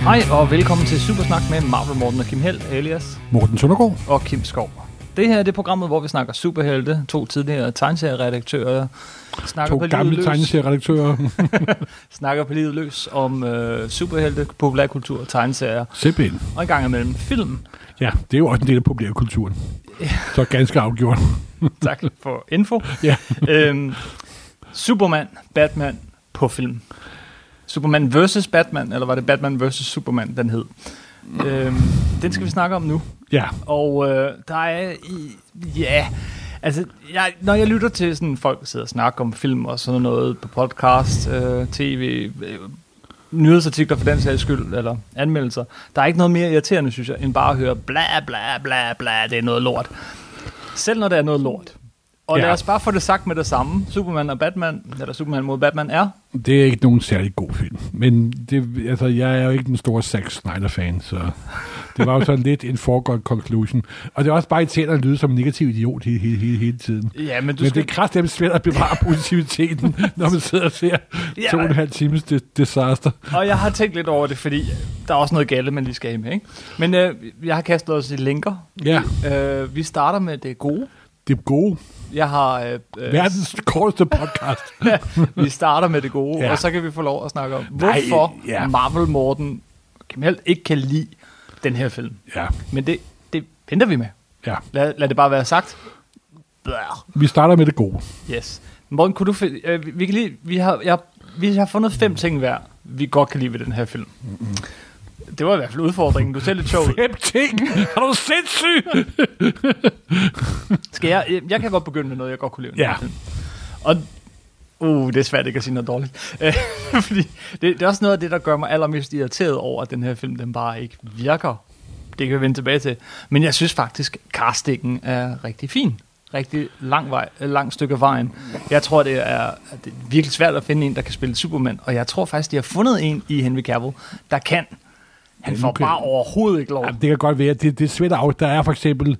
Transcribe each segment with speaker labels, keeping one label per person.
Speaker 1: Hej og velkommen til Supersnak med Marvel Morten og Kim Held, alias
Speaker 2: Morten Søndergaard.
Speaker 1: og Kim Skov. Det her det er programmet, hvor vi snakker superhelte, to tidligere tegneserieredaktører, snakker,
Speaker 2: To
Speaker 1: på livet,
Speaker 2: gamle
Speaker 1: løs,
Speaker 2: tegneserieredaktører.
Speaker 1: snakker på livet løs om øh, superhelte, populærkultur, tegneserier
Speaker 2: Simpelthen.
Speaker 1: og en gang imellem film.
Speaker 2: Ja, det er jo også en del af populærkulturen. Så ganske afgjort.
Speaker 1: Tak for info.
Speaker 2: Ja.
Speaker 1: øhm, Superman, Batman på film. Superman vs. Batman, eller var det Batman vs. Superman, den hed. Øhm, den skal vi snakke om nu.
Speaker 2: Ja,
Speaker 1: Og øh, der er... i- Ja, altså, jeg, når jeg lytter til sådan folk, der sidder og snakker om film og sådan noget på podcast, øh, tv, øh, nyhedsartikler for den sags skyld, eller anmeldelser, der er ikke noget mere irriterende, synes jeg, end bare at høre bla bla bla bla, det er noget lort. Selv når det er noget lort. Og ja.
Speaker 2: Ja.
Speaker 1: lad os bare få det sagt med det samme. Superman og Batman, eller Superman mod Batman er.
Speaker 2: det er ikke nogen særlig god film. Men det, altså, jeg er jo ikke den store Zack Snyder-fan, så det var jo sådan lidt en foregående conclusion. Og det er også bare irriterende at lyde som en negativ idiot hele, hele, hele, hele tiden.
Speaker 1: Ja, men
Speaker 2: Men det er kraftedeme svært at bevare positiviteten, når man sidder og ser
Speaker 1: Ja.
Speaker 2: to og en halv times de- disaster.
Speaker 1: Og jeg har tænkt lidt over det, fordi der er også noget galt, man lige skal have med, ikke? Men øh, jeg har kastet os i linker.
Speaker 2: Ja.
Speaker 1: Øh, vi starter med det gode.
Speaker 2: Det er gode.
Speaker 1: Jeg har, øh, øh,
Speaker 2: Verdens korteste podcast.
Speaker 1: vi starter med det gode, ja.
Speaker 2: Ja.
Speaker 1: og så kan vi få lov at snakke om, hvorfor Nej, ja.
Speaker 2: ja.
Speaker 1: Marvel Morten Kim Helt ikke kan lide den her film.
Speaker 2: Ja,
Speaker 1: Men det, det venter vi med.
Speaker 2: ja.
Speaker 1: Lad, lad det bare være sagt. Blah.
Speaker 2: Vi starter med det gode.
Speaker 1: Yes. Morten, kunne du finde, øh, vi- vi, kan lige, vi, har, jeg, vi har fundet fem ting hver, vi godt kan lide ved den her film. Mm-hmm. Det var i hvert fald udfordringen. Du ser lidt sjov ud.
Speaker 2: Fem ting? Er du sindssyg?
Speaker 1: Skal jeg, øh, jeg kan godt begynde med noget, jeg godt kunne leve.
Speaker 2: Ja.
Speaker 1: Og, uh, det er svært ikke at sige noget dårligt. Øh, Fordi det, det, er også noget af det, der gør mig allermest irriteret over, at den her film, den bare ikke virker. Det kan vi vende tilbage til. Men jeg synes faktisk, castingen er rigtig fin. Rigtig lang, vej, øh, lang stykke af vejen. Jeg tror, det er, at det er virkelig svært at finde en, der kan spille Superman. Og jeg tror faktisk, de har fundet en i Henry Cavill, der kan. Han
Speaker 2: Ja, nu
Speaker 1: får
Speaker 2: kan-
Speaker 1: bare overhovedet ikke lov.
Speaker 2: Jamen, det kan godt være. Det, det er svært af. Der er for eksempel,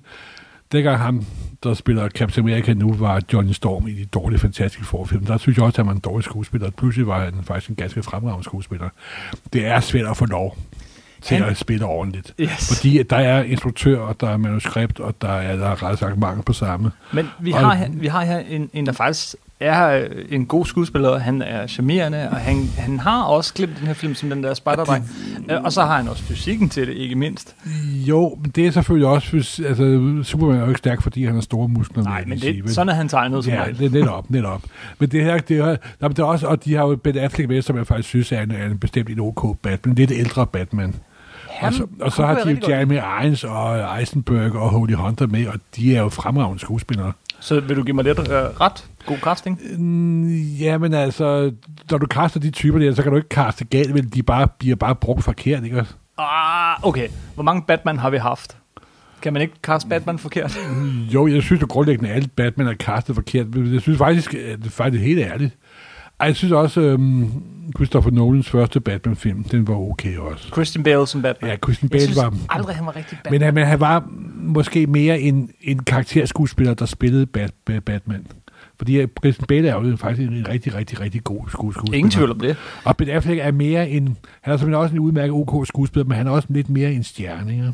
Speaker 2: dengang ham, der spiller Captain America nu, var Johnny Storm i de dårlige, fantastiske forfilm. Der synes jeg også, at han var en dårlig skuespiller. Pludselig var han faktisk en ganske fremragende skuespiller. Det er svært at få lov til
Speaker 1: Han-
Speaker 2: han... at spille ordentligt.
Speaker 1: Yes.
Speaker 2: Fordi at der er instruktør, og der er manuskript, og der er, der er ret sagt mange på samme.
Speaker 1: Men vi
Speaker 2: Og-
Speaker 1: har, her- vi har her en, en, der faktisk er øh, en god skuespiller, han er charmerende, og han, han har også klippet den her film som den der spejderdreng. Øh, Og så har han også fysikken til det, ikke mindst.
Speaker 2: Jo, men det er selvfølgelig også, hvis, altså, Superman er jo ikke stærk, fordi han har store muskler. vil
Speaker 1: Nej,
Speaker 2: jeg
Speaker 1: men
Speaker 2: lige sige, vel?
Speaker 1: det, sådan er han tegnet som
Speaker 2: Ja,
Speaker 1: regel.
Speaker 2: det er netop, netop. Men det her, det er, der, det er også, og de har jo Ben Affleck med, som jeg faktisk synes er en, er en bestemt en OK Batman, lidt ældre Batman.
Speaker 1: Han-
Speaker 2: og så,
Speaker 1: han
Speaker 2: og så har
Speaker 1: kunne
Speaker 2: de
Speaker 1: jeg
Speaker 2: jo
Speaker 1: rigtig godt
Speaker 2: Jeremy Irons og Eisenberg og Holy Hunter med, og de er jo fremragende skuespillere.
Speaker 1: Så vil du give mig lidt øh, ret? God casting?
Speaker 2: Jamen altså, når du kaster de typer der, så kan du ikke kaste galt, men de bare, bliver bare brugt forkert, ikke? også?
Speaker 1: Ah, okay. Hvor mange Batman har vi haft? Kan man ikke kaste Batman forkert?
Speaker 2: Mm. Jo, jeg synes jo grundlæggende, at alt Batman er kastet forkert. Men jeg synes faktisk, at det er faktisk helt ærligt. Ej, jeg synes også, øhm, Christopher Nolans første Batman-film, den var okay også.
Speaker 1: Christian Bale som Batman.
Speaker 2: Ja, Christian Bale
Speaker 1: jeg synes
Speaker 2: var...
Speaker 1: aldrig, han var rigtig Batman.
Speaker 2: Men han, men han var måske mere en, en karakterskuespiller, der spillede Bat, Bat- Batman. Fordi øh, Christian Bale er jo faktisk en rigtig, rigtig, rigtig god skuespiller.
Speaker 1: Ingen tvivl om det.
Speaker 2: Og Ben Affleck er mere en... Han er simpelthen også en udmærket OK skuespiller, men han er også lidt mere en stjerne, ikke?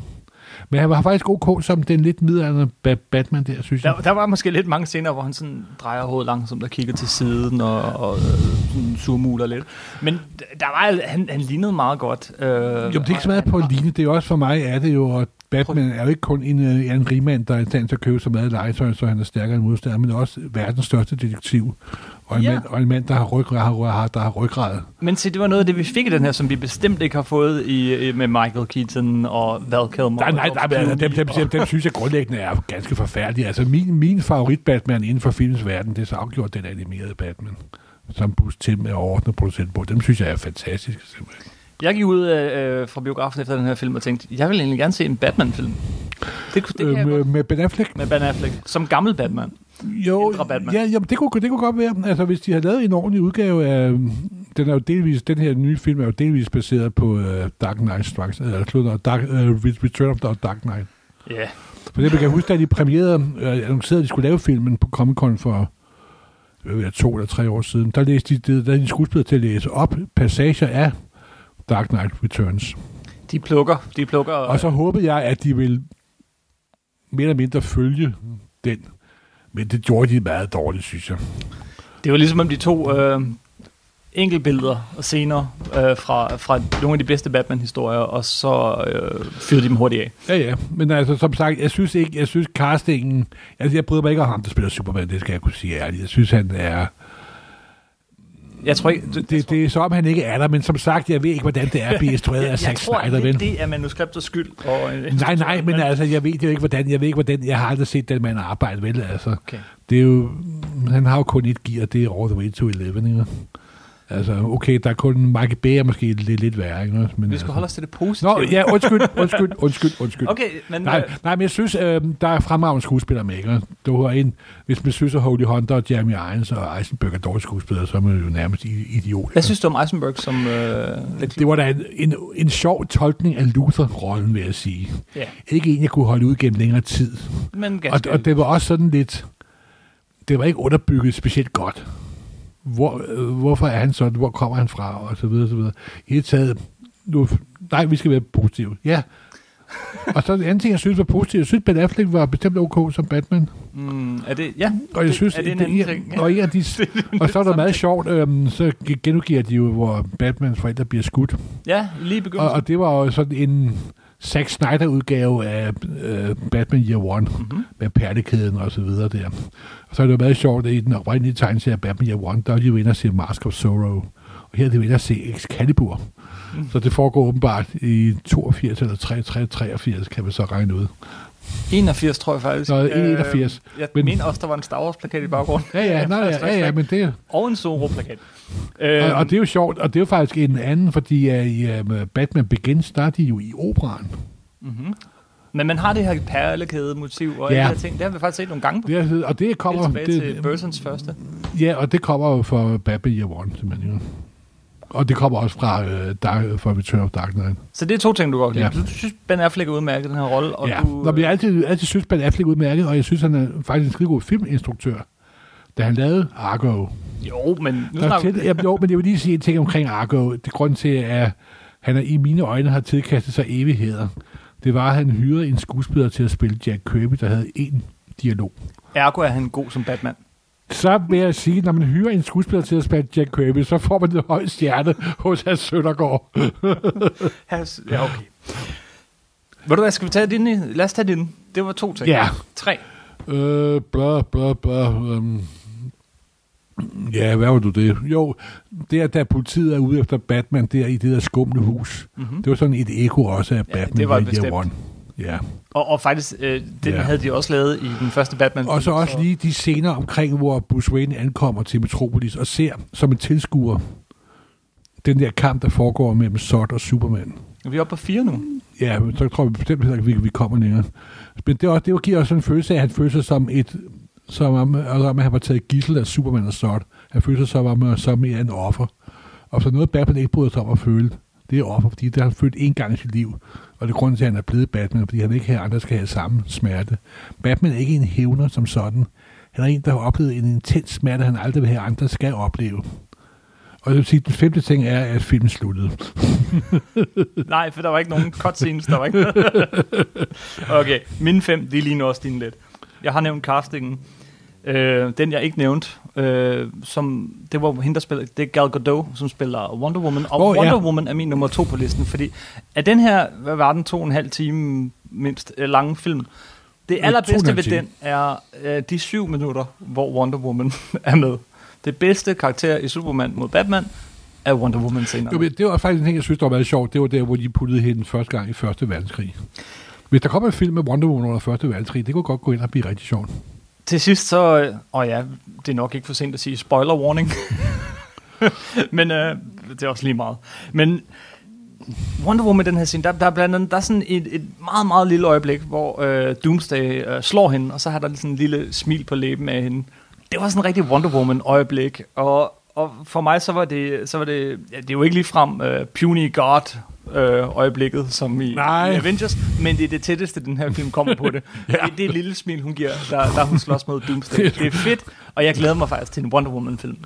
Speaker 2: Men han var faktisk OK som den lidt midaldrende Ba- Batman der, synes jeg.
Speaker 1: Der, der var måske lidt mange scener, hvor han sådan drejer hovedet langsomt og kigger til siden og, og øh, sådan surmuler lidt. Men d- der var, al- han, han lignede meget godt. Øh,
Speaker 2: Jo, men det er ikke så meget på at ligne. Det er også for mig, er det jo, at Batman er jo ikke kun en, øh, er en rigmand, der er i stand til at købe så meget legetøj, så han er stærkere end modstander, men også verdens største detektiv. Og en,
Speaker 1: Ja.
Speaker 2: ja. mand, og en mand, der har ryggrad, har, har, der har ryggrad.
Speaker 1: Men se, det var noget af det, vi fik i den her, som vi bestemt ikke har fået i, i- med Michael Keaton og Val Kilmer.
Speaker 2: Nej, nej,
Speaker 1: og
Speaker 2: nej, nej dem, dem, dem,
Speaker 1: og-
Speaker 2: dem, dem, synes jeg grundlæggende er ganske forfærdelige. Altså, min, min favorit Batman inden for filmens verden, det er så afgjort den animerede Batman som Bruce Tim er overordnet producent på. Dem synes jeg er fantastiske, simpelthen.
Speaker 1: Jeg gik ud øh, øh, fra biografen efter den her film og tænkte, jeg vil egentlig gerne se en Batman-film. Det, kunne- det kan jeg
Speaker 2: Øh, med,
Speaker 1: godt.
Speaker 2: med Ben Affleck?
Speaker 1: Med Ben Affleck. Som gammel Batman.
Speaker 2: Jo,
Speaker 1: ældre Batman.
Speaker 2: ja, jamen, det, kunne, det kunne godt være. Altså, hvis de havde lavet en ordentlig udgave af... Den, er jo delvis, den her nye film er jo delvis baseret på uh, Dark Knight Strikes, eller slutter, Dark, uh, Return of the Dark Knight.
Speaker 1: Ja. Yeah.
Speaker 2: For det, jeg kan huske, da de premierede, uh, annoncerede, at de skulle lave filmen på Comic-Con for øh, to eller tre år siden, der læste de, der, der er de skuespillere til at læse op passager af Dark Knight Returns.
Speaker 1: de plukker. De plukker
Speaker 2: Og så håbede jeg, at de ville mere eller mindre følge den. Men det gjorde de meget dårligt, synes jeg.
Speaker 1: Det var ligesom om de to øh, enkeltbilleder og scener øh, fra, fra nogle af de bedste Batman-historier, og så øh, fyrede de dem hurtigt af.
Speaker 2: Ja, ja. Men altså, som sagt, jeg synes ikke, jeg synes castingen... Altså, jeg bryder mig ikke om ham, der spiller Superman, det skal jeg kunne sige ærligt. Jeg synes, han er...
Speaker 1: Jeg tror ikke...
Speaker 2: Det, det, det er som om, han ikke er der, men som sagt, jeg ved ikke, hvordan det er at blive instrueret af
Speaker 1: jeg, jeg
Speaker 2: Zack
Speaker 1: tror,
Speaker 2: Snyder,
Speaker 1: det,
Speaker 2: vel?
Speaker 1: det er manuskriptets skyld. Og, øh,
Speaker 2: Nej, nej, men altså, jeg ved jo ikke, hvordan... Jeg ved ikke, hvordan... Jeg har aldrig set den mand arbejde, vel? Altså,
Speaker 1: Okay.
Speaker 2: det er jo... Han har jo kun et gear, det er all the way to 11, ikke? Altså, okay, der er kun Mark B. er måske lidt, lidt værre, ikke? Men,
Speaker 1: Vi skal
Speaker 2: altså.
Speaker 1: holde os til det positive.
Speaker 2: Nå, ja, undskyld, undskyld, undskyld, undskyld.
Speaker 1: Okay, men...
Speaker 2: Nej,
Speaker 1: øh,
Speaker 2: nej, men jeg synes, øh, der er fremragende skuespillere med, ikke? Du har en, hvis man synes, at Holy Hunter, Jeremy Irons og Eisenberg er dårlige skuespillere, så er man jo nærmest i- idiot.
Speaker 1: Hvad synes du om Eisenberg som... Øh,
Speaker 2: Det var da en, en, en sjov tolkning af Luther-rollen, vil jeg sige.
Speaker 1: ja,
Speaker 2: Ikke en, jeg kunne holde ud gennem længere tid.
Speaker 1: men
Speaker 2: Og,
Speaker 1: ganske...
Speaker 2: og det var også sådan lidt... Det var ikke underbygget specielt godt. Hvor, øh, hvorfor er han sådan? Hvor kommer han fra? Og så videre, så videre. I det hele taget... Nu, nej, vi skal være positive. Ja. og så en anden ting, jeg synes var positivt. Jeg synes, Ben Affleck var bestemt ok som Batman.
Speaker 1: mm, er det... Ja,
Speaker 2: Og jeg
Speaker 1: det,
Speaker 2: synes,
Speaker 1: er det en anden
Speaker 2: ja,
Speaker 1: ting?
Speaker 2: Og, ja, de, og så er der meget sjovt, øhm, så genudgiver de jo, hvor Batmans forældre bliver skudt.
Speaker 1: Ja, lige i
Speaker 2: Og,
Speaker 1: begyndelsen.
Speaker 2: og det var jo sådan en Zack Snyder-udgave af øh, Batman Year One, mm-hmm. med perlekæden og så videre der. Og så er det jo meget sjovt, at i den oprindelige tegneserie af Batman Year One, der er de jo inde og se Mask of Sorrow. Og her er de jo inde og se Excalibur. Mm. Så det foregår åbenbart i 82 eller 83, 83, kan man så regne ud.
Speaker 1: 81, tror jeg faktisk.
Speaker 2: Nå, 81.
Speaker 1: Øh, jeg men...
Speaker 2: Men-
Speaker 1: mener også, der var en Star Wars-plakat i baggrunden.
Speaker 2: Ja, ja, nej, ja, ja, ja men det,
Speaker 1: Og en Zorro-plakat. Øh,
Speaker 2: Og, og det er jo sjovt, og det er jo faktisk en anden, fordi uh, i uh, Batman Begins, der er de jo i operan.
Speaker 1: Men man har det her perlekæde-motiv og
Speaker 2: Ja.
Speaker 1: ja. alle de her ting. Det har vi faktisk set nogle gange på.
Speaker 2: Det er, og det
Speaker 1: Helt
Speaker 2: kommer,
Speaker 1: tilbage til
Speaker 2: det,
Speaker 1: Bursons første.
Speaker 2: ja, og det kommer jo fra Batman Year One, simpelthen. Ja. Og det kommer også fra, uh, Dark, fra Return of Dark Knight.
Speaker 1: Så det er to ting, du godt kan lide.
Speaker 2: Ja.
Speaker 1: Du synes, Ben Affleck er udmærket i den her rolle. Og
Speaker 2: ja.
Speaker 1: du, øh,
Speaker 2: Nå, men jeg har altid, altid synes, Ben Affleck er udmærket, og jeg synes, han er faktisk en skide god filminstruktør. Da han lavede Argo.
Speaker 1: Jo, men nu
Speaker 2: Der er
Speaker 1: snakker vi...
Speaker 2: til, jeg, jo, men jeg vil lige sige en ting omkring Argo. Det grund til, at han er, i mine øjne har tilkastet sig evigheder. Det var, at han hyrede en skuespiller til at spille Jack Kirby, der havde én dialog.
Speaker 1: Ergo er han god som Batman.
Speaker 2: Så vil jeg sige, når man hyrer en skuespiller til at spille Jack Kirby, så får man det høje stjerne hos Hans Søndergaard.
Speaker 1: Has, ja, okay. Ved du hvad, skal vi tage din? i- Lad os tage din. Det var to ting.
Speaker 2: Ja.
Speaker 1: Tre.
Speaker 2: Øh, bla, bla, bla. Um. Ja, hvad var du det? Jo, det er, da politiet er ude efter Batman der i det der skumle hus. Mm-hmm. Det var sådan et eko også af
Speaker 1: Mhm. Ja,
Speaker 2: Batman.
Speaker 1: det var
Speaker 2: Year
Speaker 1: bestemt.
Speaker 2: One. Ja.
Speaker 1: Og, og faktisk, øh, den
Speaker 2: Ja.
Speaker 1: havde de også lavet i den første Batman.
Speaker 2: Og så også lige de scener omkring, hvor Bruce Wayne ankommer til Metropolis og ser som en tilskuer den der kamp, der foregår mellem Sot og Superman.
Speaker 1: Vi er oppe på fire nu.
Speaker 2: Ja, men så tror jeg bestemt heller ikke, vi, vi kommer længere. Men det, er også, det giver også en følelse af, at han føler sig som et som om, altså om at han var taget gissel af Superman og Sot. Han føler sig som om, at som mere en offer. Og så noget Batman ikke bryder sig om at føle, det er offer, fordi det har han følt én gang i sit liv. Og det er grunden til, at han er blevet Batman, fordi han ikke her andre skal have samme smerte. Batman er ikke en hævner som sådan. Han er en, der har oplevet en intens smerte, han aldrig vil have andre skal opleve. Og det vil sige, at den femte ting er, at filmen sluttede.
Speaker 1: Nej, for der var ikke nogen cutscenes, der var ikke Okay, mine fem, de ligner også dine lidt. Jeg har nævnt castingen. Øh, den jeg ikke nævnte, øh, som, det var hende, der spiller, det er Gal Gadot, som spiller Wonder Woman. Og
Speaker 2: Åh,
Speaker 1: oh,
Speaker 2: ja.
Speaker 1: Wonder Woman er min nummer to på listen, fordi af den her, hvad var den, to og en halv time mindst øh, lange film, det
Speaker 2: Øh, to og
Speaker 1: allerbedste
Speaker 2: en
Speaker 1: ved
Speaker 2: halv time.
Speaker 1: den er øh, de syv minutter, hvor Wonder Woman er med. Det bedste karakter i Superman mod Batman er Wonder Woman senere.
Speaker 2: Jo, men det var faktisk en ting, jeg synes, der var meget sjovt. Det var der, hvor de puttede hende første gang i Første Verdenskrig. Hvis der kommer en film med Wonder Woman under Første Verdenskrig, det kunne godt gå ind og blive rigtig sjovt.
Speaker 1: Til sidst så, øh, åh ja, det er nok ikke for sent at sige spoiler warning, men øh, det er også lige meget. Men Wonder Woman i den her scene, der, der er blandt andet, der er sådan et, et meget, meget lille øjeblik, hvor øh, Doomsday øh, slår hende, og så har der lige sådan en lille smil på læben af hende. Det var sådan en rigtig Wonder Woman øjeblik, og, og for mig så var det, så var det, ja, det er jo ikke ligefrem øh, puny god øh, øjeblikket, som i, i
Speaker 2: Nej.
Speaker 1: Avengers, men det er det tætteste, den her film kommer på det. ja. Det er det lille smil, hun giver, der, der hun slås mod Doomsday. Det er fedt, og jeg glæder mig faktisk til en Wonder Woman-film.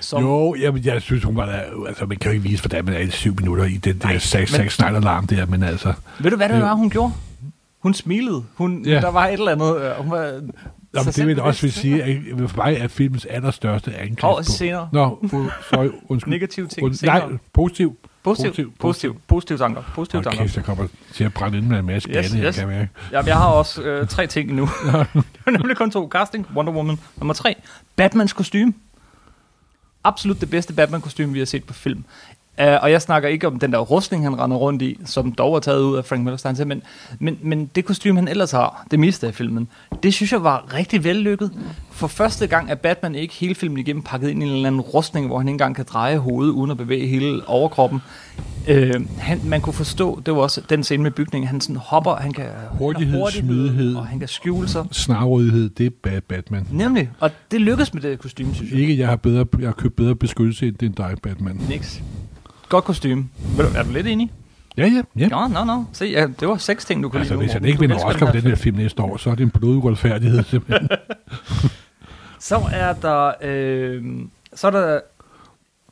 Speaker 2: Som... Jo, jamen, jeg synes, hun var der... Altså, man kan jo ikke vise, hvordan man er i syv minutter i den der Zack men... Snyder-larm der, men altså...
Speaker 1: Ved du, hvad det var, hun gjorde? Øh, Hun smilede. Hun,
Speaker 2: Ja.
Speaker 1: ja. Der var et eller andet... Øh, hun var
Speaker 2: Nå, men
Speaker 1: sig
Speaker 2: det
Speaker 1: selv
Speaker 2: vil jeg også vil
Speaker 1: bevidst.
Speaker 2: sige, at for mig er filmens allerstørste angreb
Speaker 1: Og
Speaker 2: på-
Speaker 1: senere.
Speaker 2: Nå, u- sorry, undskyld.
Speaker 1: Negative ting
Speaker 2: Und- nej,
Speaker 1: senere.
Speaker 2: positiv.
Speaker 1: Positiv, positiv, positiv, positiv tanker. Positiv
Speaker 2: Hold
Speaker 1: tanker.
Speaker 2: kæft, jeg kommer til at brænde ind med en masse yes,
Speaker 1: Yes,
Speaker 2: galle, yes. jeg
Speaker 1: yes.
Speaker 2: kan mærke.
Speaker 1: Jamen, jeg har også øh, tre ting nu. det var nemlig kun to. Casting, Wonder Woman. Nummer tre, Batmans kostume. Absolut det bedste Batman-kostume, vi har set på film. Uh, og jeg snakker ikke om den der rustning, han render rundt i, som dog er taget ud af Frank Miller Stein, men, men, men det kostume, han ellers har, det meste af filmen, det synes jeg var rigtig vellykket. For første gang er Batman ikke hele filmen igennem pakket ind i en eller anden rustning, hvor han ikke engang kan dreje hovedet uden at bevæge hele overkroppen. Øh, han, man kunne forstå, det var også den scene med bygningen, han sådan hopper, han kan
Speaker 2: Hurtighed, smidighed.
Speaker 1: og han kan skjule sig.
Speaker 2: Snarrådighed, det er bad Batman.
Speaker 1: Nemlig, og det lykkedes med det kostume, synes jeg.
Speaker 2: Ikke, jeg har, bedre, jeg har købt bedre beskyttelse end den dig, Batman.
Speaker 1: Niks. Godt kostume. Ved du- Er du lidt enig?
Speaker 2: Ja, ja, ja.
Speaker 1: Nå, nå, nå. Se, ja, det var seks ting, du kunne
Speaker 2: Altså,
Speaker 1: lide. nu,
Speaker 2: hvis han
Speaker 1: Morten.
Speaker 2: ikke
Speaker 1: Du altså.
Speaker 2: vinder
Speaker 1: elsker
Speaker 2: Oscar
Speaker 1: her
Speaker 2: for den her film næste år, så er det en bloduretfærdighed simpelthen.
Speaker 1: Så er der, øh, så er der,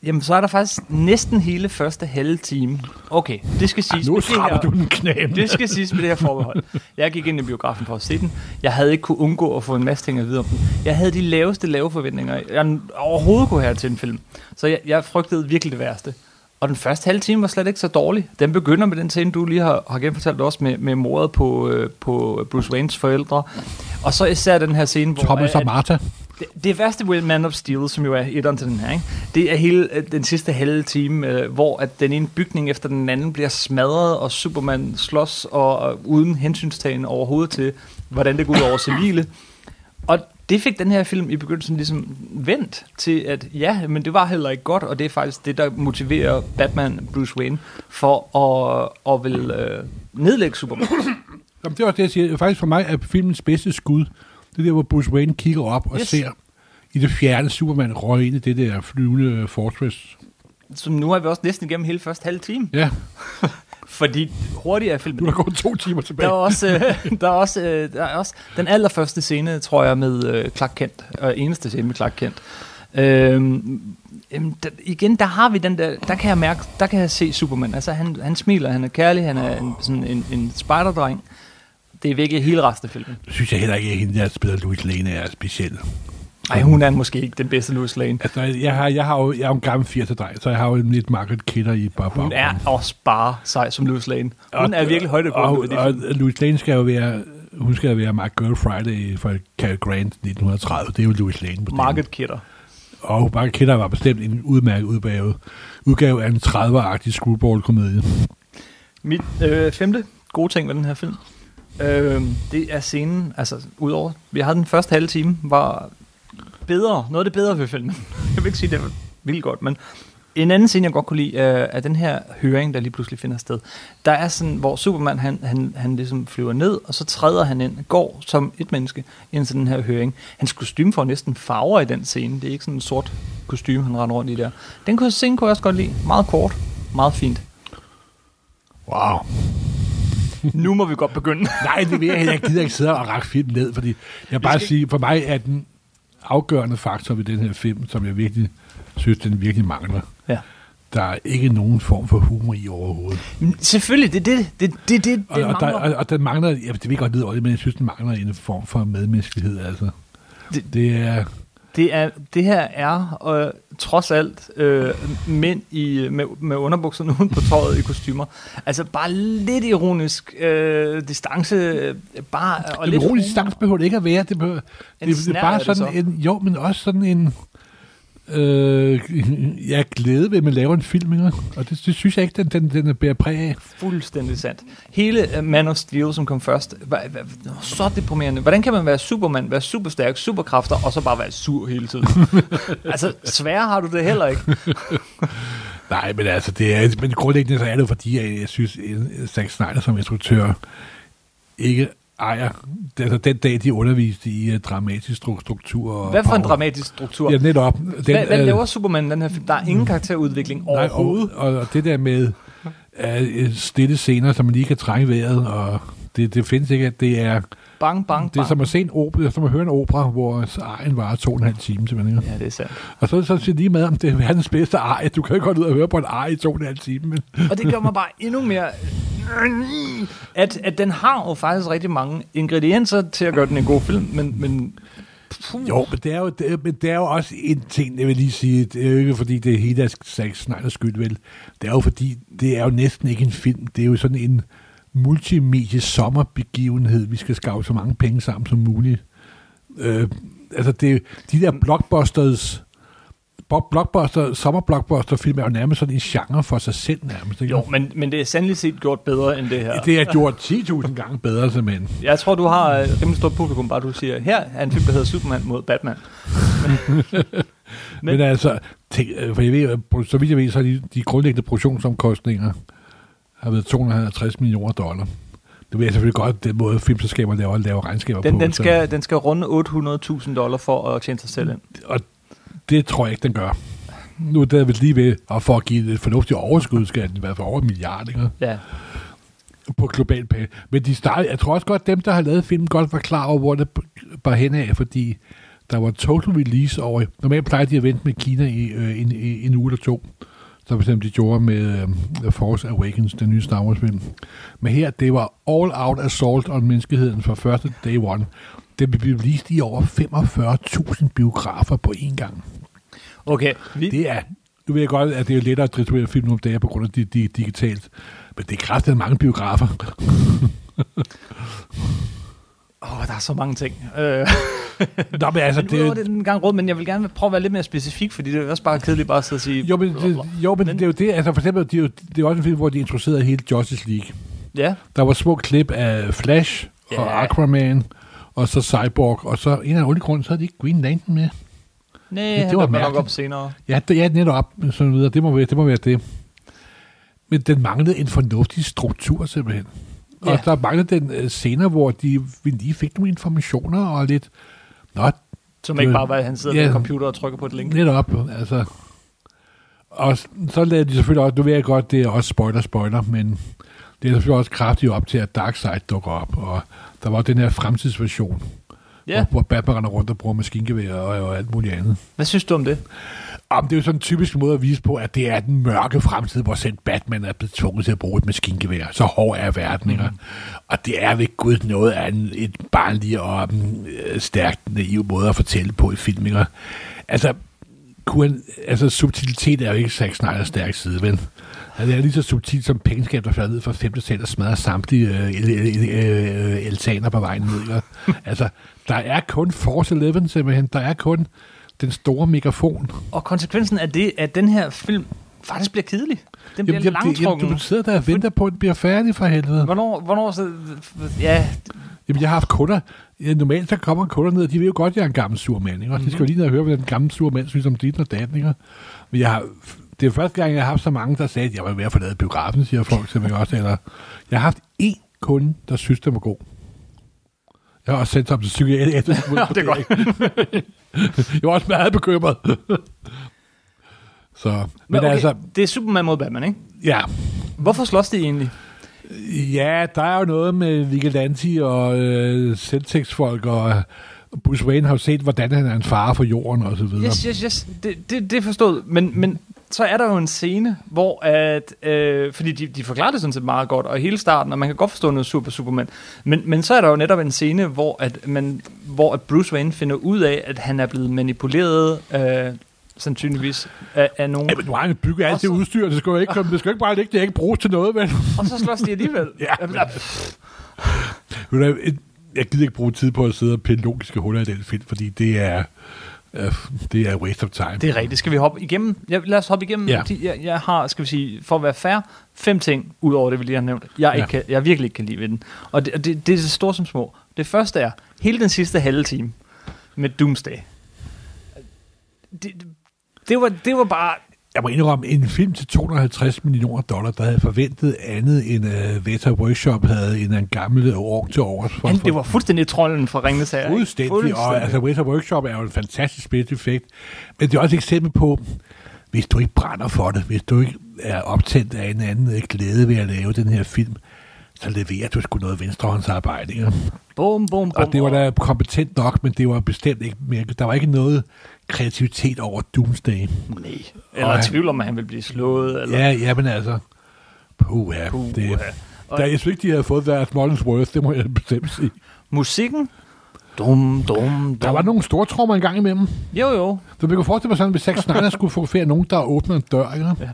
Speaker 1: jamen så er der faktisk næsten hele første halve time. Okay, det skal siges.
Speaker 2: Ah, nu
Speaker 1: med det
Speaker 2: strammer
Speaker 1: her-
Speaker 2: du den knæm.
Speaker 1: Det skal siges med det her forbehold. Jeg gik ind i biografen for at se den. Jeg havde ikke kunne undgå at få en masse ting at vide om den. Jeg havde de laveste lave forventninger, jeg overhovedet kunne have til en film. Så jeg, jeg frygtede virkelig det værste. Og den første halve time var slet ikke så dårlig. Den begynder med den scene, du lige har, har genfortalt også med, med mordet på, øh, på Bruce Waynes forældre. Og så især den her scene, hvor...
Speaker 2: Thomas og
Speaker 1: at-
Speaker 2: Martha.
Speaker 1: det, det værste ved Man of Steel, som jo er etteren til den her, ikke? det er hele øh, den sidste halve time, øh, hvor at den ene bygning efter den anden bliver smadret, og Superman slås og, og uden hensynstagen overhovedet til, hvordan det går ud over civile. Og det fik den her film i begyndelsen ligesom vendt til, at ja, men det var heller ikke godt, og det er faktisk det, der motiverer Batman Bruce Wayne for at, at vil øh, nedlægge Superman.
Speaker 2: Jamen, det er også det, jeg siger. Faktisk for mig er filmens bedste skud, det er der, hvor Bruce Wayne kigger op og yes.
Speaker 1: Yes.
Speaker 2: ser i det fjerne Superman røg ind i det der flyvende øh, fortress.
Speaker 1: Som nu har vi også næsten igennem hele første halve time,
Speaker 2: Ja,
Speaker 1: fordi hurtigere er filmen
Speaker 2: nu er der gået to timer
Speaker 1: Der
Speaker 2: tilbage.
Speaker 1: er også, øh, der er også, øh, der er også den allerførste scene, tror jeg, med øh, Clark Kent. Og eneste scene med Clark Kent. Øhm, jamen, der, igen, der har vi den der, der kan jeg mærke, der kan jeg se Superman. Altså, han, han smiler, han er kærlig, han er en, sådan en, en spejderdreng. Det er virkelig hele resten af filmen.
Speaker 2: synes jeg heller ikke, at hende, der spiller Louis Lane, er speciel.
Speaker 1: Ej, hun er måske ikke den bedste Louis Lane.
Speaker 2: Altså, jeg, har, jeg, har jo, jeg er jo en gammel 80'er dreng, så jeg har jo lidt market killer i bare
Speaker 1: Hun er også bare sej som Louis Lane. Hun er virkelig
Speaker 2: og,
Speaker 1: højdepunktet ved det.
Speaker 2: og, og Louis Lane skal jo være, hun skal jo være My Girl Friday fra Cary Grant 1930. Det er jo Louis Lane. på
Speaker 1: Market Kidder.
Speaker 2: Og Mark Kidder var bestemt en udmærket udgave, udgave af en 30-agtig screwball-komedie.
Speaker 1: Mit øh, femte gode ting ved den her film, øh, det er scenen, altså udover, vi havde den første halve time, var bedre, noget af det bedre ved filmen. Jeg vil ikke sige, det var vildt godt, men en anden scene, jeg godt kunne lide, øh, er den her høring, der lige pludselig finder sted. Der er sådan, hvor Superman, han, han, han ligesom flyver ned, og så træder han ind, går som et menneske ind til den her høring. Hans kostume får næsten farver i den scene. Det er ikke sådan en sort kostume, han render rundt i der. Den kunne- scene kunne jeg også godt lide. Meget kort, meget fint.
Speaker 2: Wow.
Speaker 1: Nu må vi godt begynde.
Speaker 2: Nej, det vil jeg heller ikke. Jeg gider ikke sidde og række filmen ned, fordi jeg bare skal... sige, for mig er den afgørende faktor ved den her film, som jeg virkelig synes, den virkelig mangler.
Speaker 1: Ja.
Speaker 2: Der er ikke nogen form for humor i overhovedet.
Speaker 1: Men Selvfølgelig, det er det, det, det, det, det
Speaker 2: Og, og, der,
Speaker 1: mangler.
Speaker 2: og, og den mangler, jeg, det vil jeg godt lide over det, men jeg synes, den mangler en form for medmenneskelighed, altså. Det,
Speaker 1: Det-
Speaker 2: det er...
Speaker 1: Det, er, det her er øh, trods alt øh, mænd i, med, med underbukserne uden på tøjet i kostymer. Altså bare lidt ironisk øh, distance, øh, bare, og
Speaker 2: Og det
Speaker 1: lidt
Speaker 2: ironisk
Speaker 1: humor.
Speaker 2: stans behøver det ikke at være. Det, behøver, det, det er
Speaker 1: snert
Speaker 2: bare
Speaker 1: er det
Speaker 2: sådan en... Jo, men også sådan en... Øh, jeg er glæde ved, at man laver en film, ikke? og det, det, synes jeg ikke, den, den, den bærer præg af.
Speaker 1: Fuldstændig sandt. Hele øh, Man of Steel, som kom først, var, var, var så deprimerende. Hvordan kan man være Superman, være superstærk, superkræfter, og så bare være sur hele tiden? altså, sværere har du det heller ikke.
Speaker 2: Nej, men altså, det er, men grundlæggende så er det jo fordi, at jeg synes, at Zack Snyder som instruktør ikke ejer, altså den dag, de underviste i uh, dramatisk stru- struktur. og
Speaker 1: Hvad for en
Speaker 2: power-
Speaker 1: dramatisk struktur?
Speaker 2: Ja, netop.
Speaker 1: Den, hvad, hvad
Speaker 2: øh,
Speaker 1: laver Superman i den her film? Der er ingen karakterudvikling
Speaker 2: Nej,
Speaker 1: overhovedet.
Speaker 2: og, og, og det der med øh, uh, stille scener, som man lige kan trække vejret, og det, det findes ikke, at det er...
Speaker 1: Bang, bang,
Speaker 2: Det er
Speaker 1: bang.
Speaker 2: som at se en opera, det er som at høre en opera, hvor ejen varer to og en halv time, simpelthen. ikke?
Speaker 1: Ja, det er sandt.
Speaker 2: Og så er det sådan set lige med, om det er verdens bedste arie. Du kan jo ikke godt ud og høre på en arie i to og en halv time, men
Speaker 1: Og det gør mig bare endnu mere... At, at den har jo faktisk rigtig mange ingredienser til at gøre den en god film, men... men puh,
Speaker 2: Jo, men det er jo, det, er- men det er jo også en ting, jeg vil lige sige. Det er jo ikke, fordi det er hele Zack Snyder skyld, vel. Det er jo, fordi det er jo næsten ikke en film. Det er jo sådan en multimedie sommerbegivenhed. Vi skal skave så mange penge sammen som muligt. Øh, altså, det, er- de der blockbusters... bo- Blockbuster, sommerblockbuster-film er jo nærmest sådan en genre for sig selv nærmest. Ikke?
Speaker 1: Jo, men, men det er sandelig set gjort bedre end det her.
Speaker 2: Det er gjort 10.000 gange bedre, simpelthen.
Speaker 1: Jeg tror, du har et rimelig stort publikum, bare du siger, her er en film, der hedder Superman mod Batman.
Speaker 2: Men, men altså, tænk, øh, for jeg ved, at pro- så vidt jeg ved, så har de, de grundlæggende produktionsomkostninger har været 250 millioner dollar. Det ved jeg selvfølgelig godt, den måde filmselskaber laver, laver regnskaber
Speaker 1: Den,
Speaker 2: på.
Speaker 1: den,
Speaker 2: så-
Speaker 1: skal, den skal runde 800.000 dollar for at tjene sig selv ind.
Speaker 2: Og det tror jeg ikke, den gør. Nu er det vel lige ved, og for at give et fornuftigt overskud, skal den være for over en milliard, ikke?
Speaker 1: Ja.
Speaker 2: på global plan. Men de startede, jeg tror også godt, dem, der har lavet filmen, godt var klar over, hvor det var henad, fordi der var total release over... Normalt plejer de at vente med Kina i øh, en, i en uge eller to. Så for eksempel de gjorde med øh, The Force Awakens, den nye Star Wars film. Men her, det var all out assault on menneskeheden fra første day one. Den blev vist i over 45.000 biografer på én gang.
Speaker 1: Okay, vi,
Speaker 2: Det er, nu ved jeg godt, at det er jo lettere at distribuere film nu om dagen på grund af det de, digitalt. Men det er kraftigt mange biografer.
Speaker 1: åh, der er så mange ting. Øh,
Speaker 2: Nå, men altså,
Speaker 1: men det,
Speaker 2: det,
Speaker 1: det den gang råd, men jeg vil gerne prøve at være lidt mere specifik, fordi det er også bare kedeligt bare at sidde og sige...
Speaker 2: Jo, men, det, jo, men,
Speaker 1: Men-
Speaker 2: det er jo det, altså for eksempel, det er jo, det er også en film, hvor de introducerede hele Justice League.
Speaker 1: Ja,
Speaker 2: Der var små klip af Flash
Speaker 1: Ja.
Speaker 2: ja. og Aquaman, og så Cyborg, og så en af onde grund, så havde de ikke Green Lantern med.
Speaker 1: nej,
Speaker 2: det
Speaker 1: det,
Speaker 2: var
Speaker 1: det var nok
Speaker 2: mærkeligt.
Speaker 1: op senere.
Speaker 2: Ja, det, ja netop, sådan videre, det må, være, det må være det. Men den manglede en fornuftig struktur simpelthen. Ja.
Speaker 1: Ja.
Speaker 2: Og der manglede den øh, scener, hvor de vi lige fik nogle informationer og lidt, nå,
Speaker 1: Som
Speaker 2: Det
Speaker 1: ikke
Speaker 2: var-
Speaker 1: bare var, at han sidder
Speaker 2: Ja.
Speaker 1: ved en computer og trykker på et link.
Speaker 2: Netop, altså. Og s- så lavede de selvfølgelig også, nu ved jeg godt, det er også spoiler, spoiler, men det er selvfølgelig også kraftigt op til, at Darkseid dukker op, og der var den her fremtidsversion,
Speaker 1: Ja,
Speaker 2: hvor, hvor Batman render rundt og bruger maskingevær og, og alt muligt andet.
Speaker 1: hvad synes du om det?
Speaker 2: Om det er jo sådan en typisk måde at vise på, at det er den mørke fremtid, hvor selv Batman er blevet tvunget til at bruge et maskingevær. Så hård er verden, ikke? Og det er ved Gud noget af en, et barnlig og mm, øh, stærkt naiv måde at fortælle på i film, ikke? Altså, kunne han, altså, subtilitet er jo ikke Zack Snyder's stærk side, vel? Han er lige så subtil som pengeskab, der falder ned fra 5. sal og smadrer samtlige øh, el- el- el- øh, eltaner på vejen ned. ikke? altså, der er kun Force 11, simpelthen. Der er kun den store megafon.
Speaker 1: Og konsekvensen af det, at den her film faktisk bliver kedelig. Den bliver langtrukken.
Speaker 2: du sidder der og venter på, at den bliver færdig for helvede.
Speaker 1: Hvornår, hvornår så... Ja,
Speaker 2: Jamen, jeg har haft kunder. Ja, normalt så kommer kunder ned, og de ved jo godt, at jeg er en gammel sur mand. Ikke? Og
Speaker 1: Mhm.
Speaker 2: de skal jo lige ned og høre, hvad den gamle sur mand synes om dit og datten. Ikke? Men jeg har, det er første gang, jeg har haft så mange, der sagde, at jeg var ved at forlade biografen, siger folk til mig også. Eller, jeg har haft én kunde, der synes, den var god. Jeg har også sendt ham til psykiater. Efter,
Speaker 1: det er godt.
Speaker 2: jeg var også meget bekymret. så, men,
Speaker 1: Men okay,
Speaker 2: altså,
Speaker 1: det er Superman mod Batman, ikke?
Speaker 2: ja,
Speaker 1: Hvorfor slås de egentlig?
Speaker 2: Ja, der er jo noget med Vigilanti og øh, selvtægtsfolk, og øh, Bruce Wayne har jo set, hvordan han er en fare for jorden og så videre.
Speaker 1: Yes, yes, yes. Det, det, det er forstået. Men, men så er der jo en scene, hvor at... Øh, fordi de, de forklarer det sådan set meget godt, og hele starten, og man kan godt forstå noget super Superman. Men, men så er der jo netop en scene, hvor at, man, hvor at Bruce Wayne finder ud af, at han er blevet manipuleret, øh, sandsynligvis, af, af nogen.
Speaker 2: Ja, men nu har han bygget alt
Speaker 1: Og så-
Speaker 2: det udstyr, det skal jo ikke, komme, det skal jo ikke bare ligge, det er ikke bruges til noget, vel?
Speaker 1: Og så slås de alligevel. Altså,
Speaker 2: Ja, men Ved du hvad, et- Jeg gider ikke bruge tid på at sidde og pille logiske huller i den film, fordi det er, øh, det er waste of time.
Speaker 1: Det er rigtigt. Skal vi hoppe igennem? Ja, lad os hoppe igennem.
Speaker 2: Ja.
Speaker 1: De- Jeg, jeg har, skal vi sige, for at være fair, fem ting, ud over det, vi lige har nævnt, jeg, ikke
Speaker 2: Ja.
Speaker 1: kan, jeg virkelig ikke kan lide ved den. Og det, og det, det er så store som små. Det første er, hele den sidste halve time med Doomsday. Det, det, var, det var bare...
Speaker 2: Jeg må indrømme, en film til 250 millioner dollar, der havde forventet andet end uh, Veta Workshop havde en, en gammel år til års. For,
Speaker 1: Han,
Speaker 2: for-
Speaker 1: det var fuldstændig trolden fra Ringnes her. ikke?
Speaker 2: Fuldstændig. Og altså, Wizard Workshop er jo en fantastisk spileffekt. Men det er også et eksempel på, hvis du ikke brænder for det, hvis du ikke er optændt af en anden øh, glæde ved at lave den her film, så leverer du sgu noget venstrehåndsarbejde. Ikke?
Speaker 1: Bum, bum, bum.
Speaker 2: Og det var da kompetent nok, men det var bestemt ikke mere. Der var ikke noget kreativitet over Doomsday.
Speaker 1: Nej. Eller
Speaker 2: Og-
Speaker 1: tvivl om, at han vil blive slået. Eller...
Speaker 2: Ja, ja, men altså. Puha.
Speaker 1: Puha.
Speaker 2: Det,
Speaker 1: Og-
Speaker 2: der, jeg synes ikke, de havde fået deres Mullins Worth, det må jeg bestemt sige.
Speaker 1: Musikken? Dum, dum, dum.
Speaker 2: Der var nogle store trommer engang imellem.
Speaker 1: Jo, jo.
Speaker 2: Så vi kunne forestille mig sådan, hvis Zack Snyder skulle fotografere nogen, der åbner en dør. Ikke? Ja.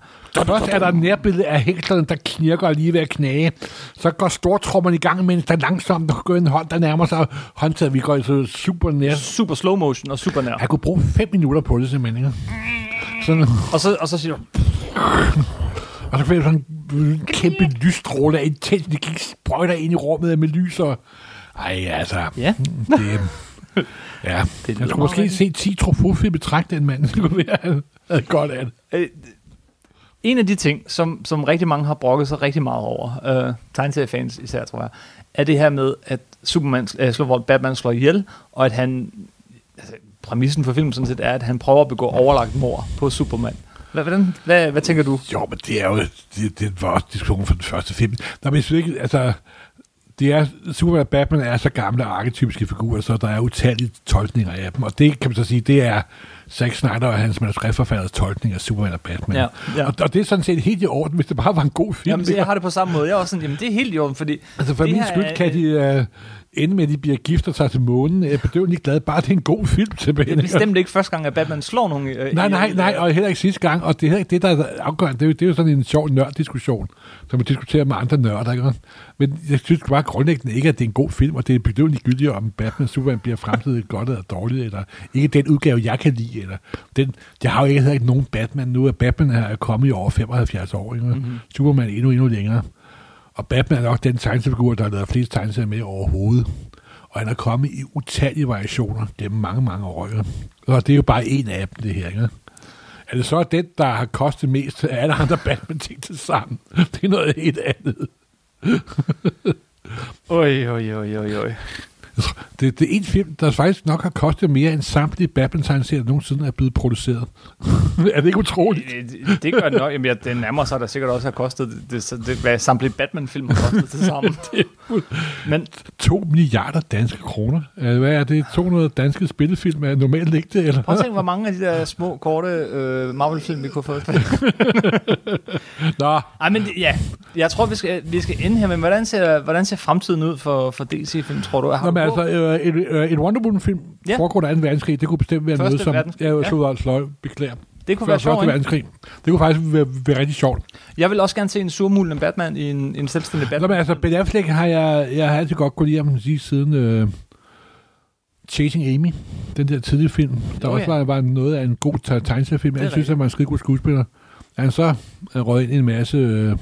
Speaker 2: Først er der et nærbillede af hæklerne, der knirker og lige ved at knage. Så går stortrommerne i gang, mens der langsomt går en hånd, der nærmer sig håndtaget. Vi går altså super nær.
Speaker 1: Super slow motion og super nær.
Speaker 2: Jeg kunne bruge fem minutter på det, simpelthen. Ikke? Sådan,
Speaker 1: Og så, og så siger du,
Speaker 2: og så fik sådan en kæmpe lysstråle af intens, det gik sprøjter ind i rummet med lys og... Ej, altså...
Speaker 1: ja,
Speaker 2: Det, ja.
Speaker 1: lyder
Speaker 2: jeg
Speaker 1: meget
Speaker 2: skulle måske
Speaker 1: rigtigt.
Speaker 2: se 10 trofofilm i træk, den mand. Det kunne være han havde godt af det.
Speaker 1: Øh, en af de ting, som, som rigtig mange har brokket sig rigtig meget over, øh, tegneseriefans især, tror jeg, er det her med, at Superman, øh, slår, hvor Batman slår ihjel, og at han, altså, præmissen for filmen sådan set er, at han prøver at begå overlagt mord på Superman. Hvad, hvordan, hvad, hvad tænker du?
Speaker 2: Jo, men det er jo, det, det var også diskussionen for den første film. Nå, men jeg synes ikke, altså, det er, Superman og Batman er så gamle arketypiske figurer, så der er utallige tolkninger af dem, og det kan man så sige, det er Zack Snyder og hans manuskriptforfatters tolkning af Superman og Batman.
Speaker 1: Ja, ja.
Speaker 2: Og, og, det er sådan set helt i orden, hvis det bare var en god film.
Speaker 1: Jamen, jeg har det på samme måde. Jeg er også sådan, jamen det er helt i orden, fordi...
Speaker 2: Altså for
Speaker 1: det
Speaker 2: min
Speaker 1: her er-
Speaker 2: skyld kan de uh, ende med, at de bliver gift og tager til månen. Jeg er bedøvende glad, bare det er en god film
Speaker 1: Det
Speaker 2: tilbage.
Speaker 1: er bestemt ikke første gang, at Batman slår nogen. Øh,
Speaker 2: Nej,
Speaker 1: ihjel.
Speaker 2: nej, nej, og heller ikke sidste gang, og det er heller ikke det, der er afgørende. Det er jo, det er jo sådan en sjov nørddiskussion, som vi diskuterer med andre nørder, ikke? Men jeg synes bare grundlæggende ikke, at det er en god film, og det er bedøvende gyldigt, om Batman og Superman bliver fremtidigt godt eller dårligt, eller ikke den udgave, jeg kan lide, eller den, jeg har jo ikke, heller ikke nogen Batman nu, og Batman er kommet i over 75 år, ikke? Mm-hmm. Superman er endnu, endnu længere. Og Batman er nok den tegneseriefigur, der har lavet flest tegneserier med overhovedet. Og han er kommet i utallige variationer gennem mange, mange år. Ikke? Og det er jo bare en af dem, det her. Ikke? Er det så den, der har kostet mest af alle andre Batman-ting til sammen? Det er noget helt andet.
Speaker 1: Oj, oj, oj, oj, oj.
Speaker 2: Jeg tror, Det, det er en film, der faktisk nok har kostet mere end samtlige Batman-tegneserier, der nogensinde er blevet produceret. er det ikke utroligt?
Speaker 1: Øh, Det, det gør det nok. Jamen, ja, det nærmer sig, der sikkert også har kostet det, det, det hvad samtlige Batman-film har kostet til sammen. Men
Speaker 2: 2 milliarder danske kroner. Øh, Hvad er det? 200 danske spillefilm er normalt ikke det, eller?
Speaker 1: prøv at tænke, hvor mange af de der små, korte øh, Marvel-film, vi kunne få.
Speaker 2: Nå,
Speaker 1: Ej, men det- ja, jeg tror, vi skal, vi skal ende her, men hvordan ser, hvordan ser fremtiden ud for, for DC-film, tror du? Har
Speaker 2: Nå,
Speaker 1: du
Speaker 2: men
Speaker 1: håb?
Speaker 2: altså, øh, en, øh, en Wonder Woman-film
Speaker 1: Ja.
Speaker 2: ja. foregår af 2. verdenskrig, det kunne bestemt være
Speaker 1: Første
Speaker 2: noget, som...
Speaker 1: verdenskrig,
Speaker 2: Ja,
Speaker 1: ja.
Speaker 2: jeg så sløj, beklager.
Speaker 1: det kunne
Speaker 2: Før
Speaker 1: være sjovt,
Speaker 2: Første
Speaker 1: ikke?
Speaker 2: verdenskrig. Det kunne faktisk være, være rigtig sjovt.
Speaker 1: Jeg vil også gerne se en surmulende Batman i en, en selvstændig
Speaker 2: Nå, men
Speaker 1: Batman.
Speaker 2: altså, Ben Affleck har jeg, jeg har altid godt kunne lide ham sige siden øh, Chasing Amy, den der tidlige film, der
Speaker 1: Nå,
Speaker 2: også
Speaker 1: ja.
Speaker 2: var, var noget af en god te- tegneseriefilm.
Speaker 1: Det er
Speaker 2: Jeg synes, han var en skide god skuespiller. Er han så øh, røget ind i en masse øh,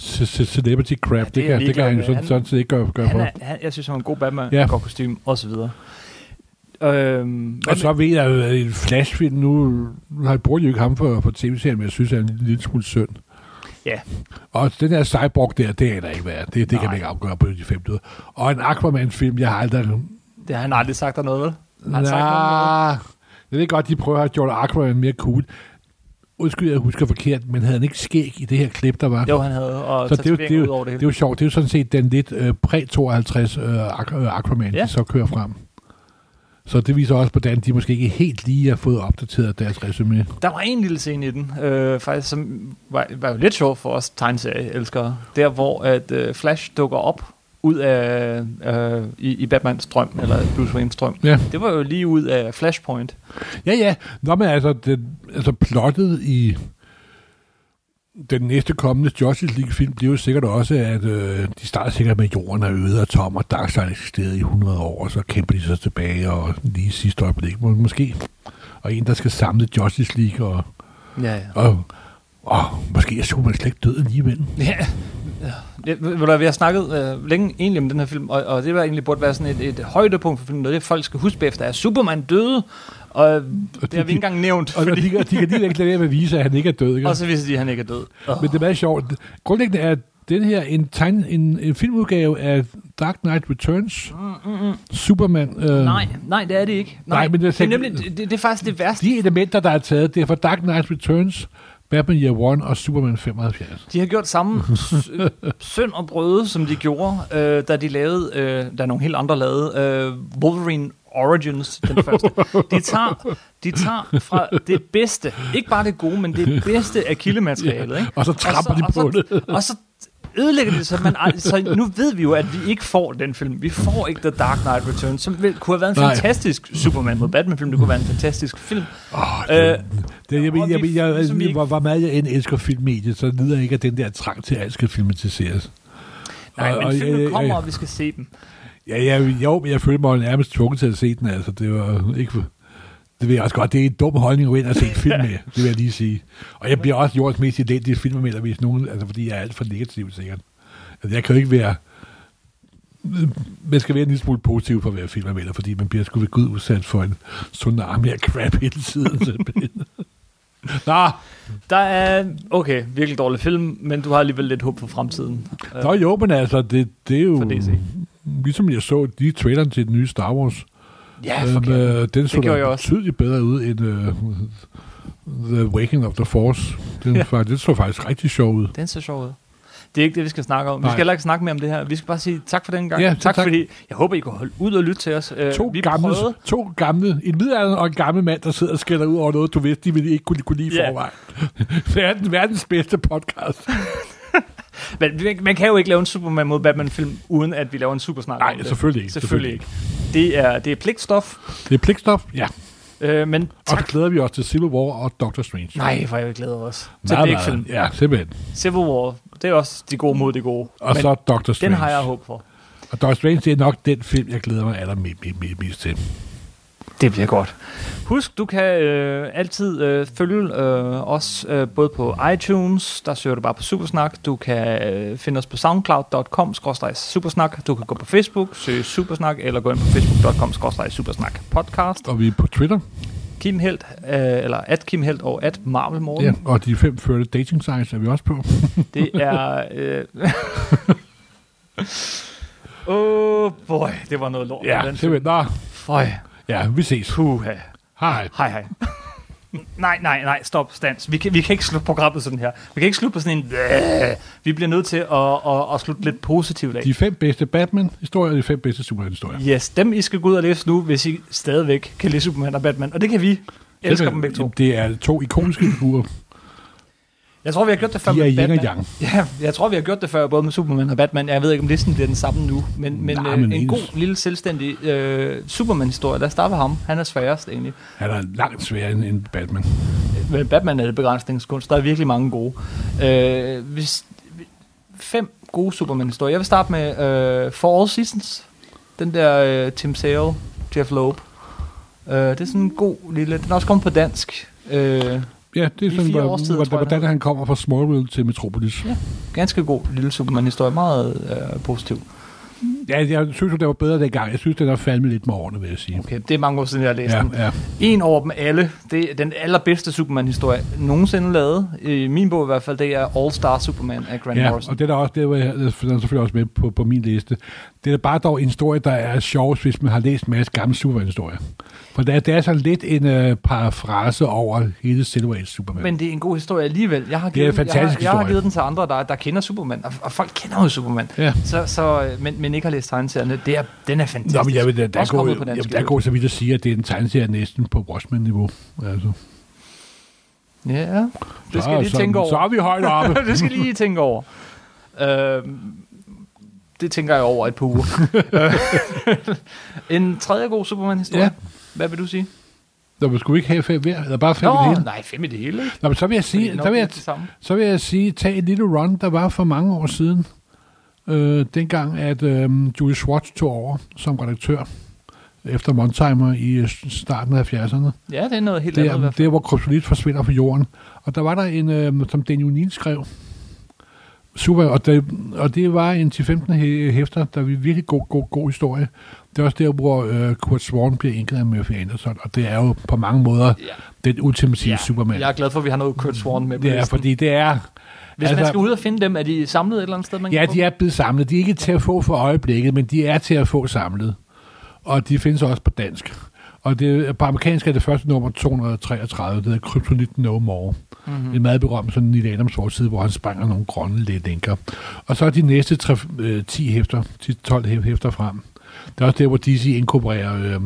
Speaker 2: ce- ce- celebrity crap,
Speaker 1: Ja,
Speaker 2: ja,
Speaker 1: det
Speaker 2: det,
Speaker 1: er
Speaker 2: det, kan, det
Speaker 1: ligeglad
Speaker 2: kan han jo
Speaker 1: med.
Speaker 2: sådan,
Speaker 1: Han-
Speaker 2: sådan set ikke gøre, gøre
Speaker 1: han
Speaker 2: for.
Speaker 1: er, han, jeg synes, han er en god Batman,
Speaker 2: Ja.
Speaker 1: ja. godt kostume og så videre. Øhm,
Speaker 2: Og så ved jeg, at en flashfilm nu, nu har jeg brugt jo ikke ham for, for tv-serien, men jeg synes, han er en lille smule synd.
Speaker 1: Ja.
Speaker 2: Og den der cyborg der, det er der ikke værd. Det, det kan
Speaker 1: Nej.
Speaker 2: man ikke afgøre på de fem døde. Og en Aquaman-film, jeg har aldrig...
Speaker 1: det har han aldrig sagt dig noget, vel? Har han sagt noget om det?
Speaker 2: Nej, jeg ved godt, de prøver at have gjort Aquaman mere cool. Undskyld, jeg husker forkert, men havde han ikke skæg i det her klip, der var?
Speaker 1: Jo, han havde, og
Speaker 2: Så det er jo- det er
Speaker 1: tatoveringer
Speaker 2: jo-
Speaker 1: ud over det
Speaker 2: Det
Speaker 1: hele.
Speaker 2: er jo sjovt. Det er jo sådan set den lidt øh, præ-52 øh, Aqu- øh, Aquaman,
Speaker 1: Ja.
Speaker 2: ja. de så kører frem. Så det viser også, hvordan de måske ikke helt lige har fået opdateret deres resume.
Speaker 1: Der var en lille scene i den, øh, faktisk, som var, var jo lidt sjov for os tegneserieelskere. Der, hvor at, øh, Flash dukker op ud af, øh, i, i Batmans drøm, eller Bruce Wayne's drøm.
Speaker 2: Ja,
Speaker 1: Det var jo lige ud af Flashpoint.
Speaker 2: ja. ja. Nå, men altså, den, altså plottet i den næste kommende Justice League-film bliver jo sikkert også, at øh, de starter sikkert med, at jorden er øde og tom, og Darkseid har eksisteret i 100 år, og så kæmper de så tilbage, og lige i sidste øjeblik, må- måske. Og en, der skal samle Justice League, og,
Speaker 1: Ja, ja.
Speaker 2: og, og måske er Superman slet ikke død alligevel.
Speaker 1: Ja. Ja, ved du hvad, vi har snakket øh, længe egentlig om den her film, og, og det var egentlig burde være sådan et, et højdepunkt for filmen, og det folk skal huske bagefter, er at Superman døde, og øh, det har vi ikke engang nævnt,
Speaker 2: Og Fordi... de, kan- de kan lige ikke lade være med at vise, at han ikke er død. Ikke?
Speaker 1: og så viser de, at han ikke er død.
Speaker 2: Men det er meget sjovt. Grundlæggende er den her en, tegn, en, en filmudgave af Dark Knight Returns.
Speaker 1: Mm, mm, mm.
Speaker 2: Superman. Øh,
Speaker 1: Nej, nej, det er det ikke. Nej,
Speaker 2: Nej, men det er
Speaker 1: det, er
Speaker 2: sikkert-
Speaker 1: nemlig, det, det er faktisk det værste.
Speaker 2: De elementer, der er taget, det er fra Dark Knight Returns, Batman Year 1 og Superman 75.
Speaker 1: De har gjort samme s- øh, synd og brøde, som de gjorde, øh, da de lavede, øh, der er nogle helt andre lavede, øh, Wolverine Origins, den første. De tager, de tager fra det bedste, ikke bare det gode, men det bedste af kildematerialet. Ikke?
Speaker 2: Og så tramper de på
Speaker 1: og så,
Speaker 2: det.
Speaker 1: Og så ødelægger det, så, man, ald- så nu ved vi jo, at vi ikke får den film. Vi får ikke The Dark Knight Returns, som vil, kunne have været en
Speaker 2: Nej.
Speaker 1: fantastisk Superman mod Batman-film. Det kunne være en fantastisk film.
Speaker 2: Åh,
Speaker 1: Øh,
Speaker 2: Det, jeg, ved-
Speaker 1: og
Speaker 2: jeg,
Speaker 1: vi-
Speaker 2: jeg, jeg,
Speaker 1: ligesom vi
Speaker 2: jeg,
Speaker 1: ikke-
Speaker 2: hvor, hvor meget jeg end elsker filmmediet, så lider jeg ikke af den der trang til, at alt skal filmatiseres.
Speaker 1: Nej,
Speaker 2: og-
Speaker 1: men filmen
Speaker 2: øh,
Speaker 1: kommer,
Speaker 2: øh.
Speaker 1: og vi skal se den.
Speaker 2: Ja, ja, jo, men jeg følte mig nærmest tvunget til at se den, altså. Det var ikke... Det ved jeg også godt. Det er en dum holdning at gå ind og se en film med, det vil jeg lige sige. Og jeg bliver også jordens mest elendige filmanmelder, hvis nogen... Altså, fordi jeg er alt for negativ, sikkert. Altså, jeg kan jo ikke være... Man skal være en lille smule positiv for at være filmanmelder, fordi man bliver sgu ved Gud udsat for en tsunami af crap hele tiden. simpelthen. Nå,
Speaker 1: Der er, okay, virkelig dårlig film, men du har alligevel lidt håb for fremtiden. Øh,
Speaker 2: Nå jo, men altså, det, det er jo...
Speaker 1: For DC.
Speaker 2: Ligesom jeg så de traileren til den nye Star Wars,
Speaker 1: Ja,
Speaker 2: øhm,
Speaker 1: forkert.
Speaker 2: øh, den så
Speaker 1: gjorde jeg
Speaker 2: da
Speaker 1: også.
Speaker 2: betydeligt bedre ud end øh, The Waking of the Force. Den,
Speaker 1: Ja.
Speaker 2: ja. den så faktisk rigtig sjov ud.
Speaker 1: Den ser sjov ud. Det er ikke det, vi skal snakke om. Vi
Speaker 2: Nej.
Speaker 1: skal heller ikke snakke mere om det her. Vi skal bare sige tak for den gang.
Speaker 2: Ja,
Speaker 1: tak,
Speaker 2: tak.
Speaker 1: fordi jeg håber, I kunne holde ud og lytte til os. Øh,
Speaker 2: To,
Speaker 1: vi
Speaker 2: gamle,
Speaker 1: prøvede.
Speaker 2: to gamle, en midalderen og en gammel mand, der sidder og skælder ud over noget, du vidste, de ville ikke kunne, kunne lide
Speaker 1: Ja.
Speaker 2: yeah. forvejen. Verden, verdens bedste podcast.
Speaker 1: Men vi- man kan jo ikke lave en Superman mod Batman-film, uden at vi laver en supersnak
Speaker 2: Nej,
Speaker 1: om det.
Speaker 2: selvfølgelig ikke,
Speaker 1: Selvfølgelig ikke. Det er, det er pligtstof,
Speaker 2: Det er pligtstof, ja.
Speaker 1: øh, men
Speaker 2: Og
Speaker 1: tak.
Speaker 2: så glæder vi os til Civil War og Doctor Strange.
Speaker 1: Nej, for jeg glæder os. Til
Speaker 2: Meget,
Speaker 1: begge
Speaker 2: meget.
Speaker 1: film.
Speaker 2: Ja, simpelthen.
Speaker 1: Civil War, det er også de gode mod de gode.
Speaker 2: Og
Speaker 1: men
Speaker 2: så Doctor Strange.
Speaker 1: den har jeg håb for.
Speaker 2: Og Doctor Strange, det er nok den film, jeg glæder mig allermest til.
Speaker 1: Det bliver godt. Husk, du kan øh, altid øh, følge øh, os øh, både på iTunes, der søger du bare på Supersnak. Du kan øh, finde os på soundcloud.com-supersnak. Du kan gå på Facebook, søge Supersnak, eller gå ind på facebook.com-supersnak-podcast.
Speaker 2: Og vi er på Twitter,
Speaker 1: Kim Helt, øh, eller at Kim Helt og at Marvel Morten.
Speaker 2: ja. og de fem førte dating sites er vi også på.
Speaker 1: Det er... Øh, oh boy, det var noget lort.
Speaker 2: Ja,
Speaker 1: den
Speaker 2: simpelthen. Nå,
Speaker 1: Føj,
Speaker 2: ja, vi ses.
Speaker 1: puha.
Speaker 2: Hej.
Speaker 1: Hej, hej. Nej, nej, nej, stop, stans. Vi kan, vi kan ikke slutte programmet sådan her. Vi kan ikke slutte på sådan en... Vi bliver nødt til at, at, at slutte lidt positivt af.
Speaker 2: De fem bedste Batman-historier og de fem bedste Superman-historier.
Speaker 1: Yes, dem I skal gå ud og læse nu, hvis I stadigvæk kan læse Superman og Batman. Og det kan vi. Jeg elsker dem begge to.
Speaker 2: Det er to ikoniske figurer.
Speaker 1: Jeg tror, vi har gjort det før
Speaker 2: De er
Speaker 1: med
Speaker 2: yin
Speaker 1: Batman.
Speaker 2: og yang.
Speaker 1: Ja, jeg tror, vi har gjort det før, både med Superman og Batman. Jeg ved ikke, om listen bliver den samme nu, men, men,
Speaker 2: Nej,
Speaker 1: Nej,
Speaker 2: men
Speaker 1: men øh, en
Speaker 2: ens.
Speaker 1: god lille selvstændig øh, Superman-historie. Lad os starte med ham. Han er sværest, egentlig.
Speaker 2: Han er langt sværere end- end Batman.
Speaker 1: Men Batman er det begrænsningskunst. Der er virkelig mange gode. Øh, hvis, fem gode Superman-historier. Jeg vil starte med øh, For All Seasons. Den der øh, Tim Sale, Jeff Loeb. Øh, det er sådan en god lille... Den er også kommet på dansk. Øh,
Speaker 2: Ja, det
Speaker 1: I
Speaker 2: er sådan,
Speaker 1: fire
Speaker 2: hvor,
Speaker 1: års tid,
Speaker 2: hvor,
Speaker 1: tror jeg,
Speaker 2: hvordan
Speaker 1: det
Speaker 2: han kommer fra Smallville til Metropolis.
Speaker 1: Ja. ganske god lille Superman-historie. Meget øh, positiv.
Speaker 2: Ja, jeg synes jo, det var bedre dengang. Jeg synes, den er faldet lidt med årene, vil jeg sige.
Speaker 1: Okay, det er mange år siden, jeg har læst
Speaker 2: Ja,
Speaker 1: den.
Speaker 2: ja.
Speaker 1: En over dem alle, det er den allerbedste Superman-historie nogensinde lavet, i min bog i hvert fald, det er All Star Superman af Grant
Speaker 2: Ja,
Speaker 1: Morrison.
Speaker 2: og det er der også, det var, jeg- den er selvfølgelig også med på, på min liste. Det er bare dog en historie, der er sjovest, hvis man har læst en masse gamle Superman-historier. For der, der er sådan lidt en øh, parafrase over hele Silver Age Superman. Men,
Speaker 1: Men det er en god historie alligevel. Jeg har
Speaker 2: Det er
Speaker 1: givet,
Speaker 2: en fantastisk
Speaker 1: jeg har, jeg har
Speaker 2: historie.
Speaker 1: givet den til andre, der, der kender Superman, og, og folk kender jo Superman,
Speaker 2: Ja.
Speaker 1: så, så, øh, men, men ikke har læst tegneserierne. Det er, den er fantastisk.
Speaker 2: Nå, men jeg vil, der, der,
Speaker 1: Også kommet
Speaker 2: går,
Speaker 1: på
Speaker 2: jamen,
Speaker 1: dansk.
Speaker 2: der går så vidt at sige, at det er en tegneserie næsten på Watchmen-niveau. Altså,
Speaker 1: Ja, det skal
Speaker 2: så,
Speaker 1: jeg lige tænke
Speaker 2: så,
Speaker 1: over.
Speaker 2: Så er vi højt oppe.
Speaker 1: det skal I lige tænke over. Øh, det tænker jeg over et par uger. Øh, en tredje god Superman-historie.
Speaker 2: Ja.
Speaker 1: Ja. Hvad vil du sige?
Speaker 2: Nå, men skulle vi ikke have fem hver? Eller bare fem i det
Speaker 1: Nå,
Speaker 2: hele?
Speaker 1: nej, fem i det hele. ikke?
Speaker 2: Nå, men så vil jeg
Speaker 1: Fordi
Speaker 2: sige,
Speaker 1: nok
Speaker 2: så vil
Speaker 1: ikke
Speaker 2: jeg,
Speaker 1: det samme.
Speaker 2: Så vil jeg sige, tag et lille run, der var for mange år siden, øh, dengang at øh, Julie Schwartz tog over som redaktør efter Montimer i øh, starten af 70'erne.
Speaker 1: Ja, det er noget helt
Speaker 2: Det
Speaker 1: andet i
Speaker 2: er,
Speaker 1: hvert
Speaker 2: det
Speaker 1: fald.
Speaker 2: er, hvor kryptonit forsvinder fra jorden. Og der var der en, øh, som Daniel Neal skrev, super, og det, og det var en 10-15 hæ- hæfter, der var virkelig god, god, god historie. Det er også der, hvor øh, Kurt Swan bliver enket af Murphy Anderson, og det er jo på mange måder
Speaker 1: Ja.
Speaker 2: den ultimative Superman.
Speaker 1: Jeg er glad for, at vi har noget Kurt Swan med. på
Speaker 2: Det er,
Speaker 1: listen.
Speaker 2: fordi det er...
Speaker 1: Hvis altså, man skal ud og finde dem, er de samlet et eller andet sted, man
Speaker 2: Ja,
Speaker 1: kan få
Speaker 2: de er blevet samlet. De er ikke til at få for øjeblikket, men de er til at få samlet. Og de findes også på dansk. Og det, på amerikansk er det første nummer 233, det hedder Kryptonit No More.
Speaker 1: Mhm.
Speaker 2: Mm-hmm. En meget berømt sådan Neil Adams forside, hvor han sprænger nogle grønne lidt lænker. Og så er de næste tre, øh, 10 hæfter, 10-12 hæf- hæfter frem. Der er også der, hvor DC inkorporerer øh,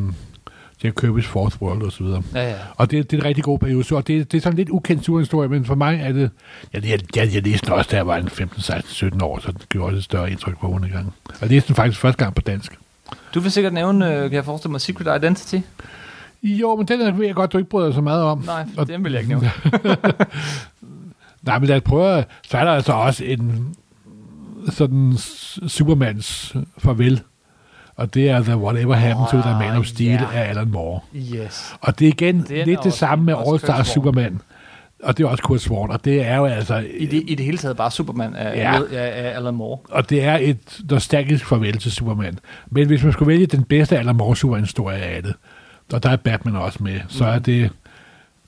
Speaker 2: Jack Kirby's Fourth World og så videre.
Speaker 1: Ja, ja.
Speaker 2: Og det, det er en rigtig god periode. Så, og det, det er sådan lidt ukendt surhistorie, men for mig er det... Jeg, jeg, jeg, jeg læste den også, da jeg var en 15, 16, 17 år, så det gjorde også et større indtryk på mig en gang. Og jeg læste den faktisk første gang på dansk.
Speaker 1: Du vil sikkert nævne, øh, kan jeg forestille mig, Secret Identity?
Speaker 2: Jo, men den er- ved jeg godt, du ikke bryder dig så meget om.
Speaker 1: Nej, for
Speaker 2: Og-
Speaker 1: den vil jeg ikke nævne.
Speaker 2: Nej, men lad os prøve. Så er der altså også en sådan s- Supermans farvel. Og det er The Whatever Happened to the Man
Speaker 1: Åh,
Speaker 2: of Steel
Speaker 1: ja.
Speaker 2: af Alan Moore.
Speaker 1: Yes.
Speaker 2: Og det er igen
Speaker 1: Den er
Speaker 2: lidt det
Speaker 1: også-
Speaker 2: samme med
Speaker 1: også
Speaker 2: All Star
Speaker 1: Kurt Swan.
Speaker 2: Superman. Og det er også Kurt Swan, og det er jo altså...
Speaker 1: I det, I det hele taget bare Superman af,
Speaker 2: Ja.
Speaker 1: ja. af, af Alan Moore.
Speaker 2: Og det er et nostalgisk farvel til Superman. Men hvis man skulle vælge den bedste Alan Moore Superman-historie af det, og der er Batman også med, så er det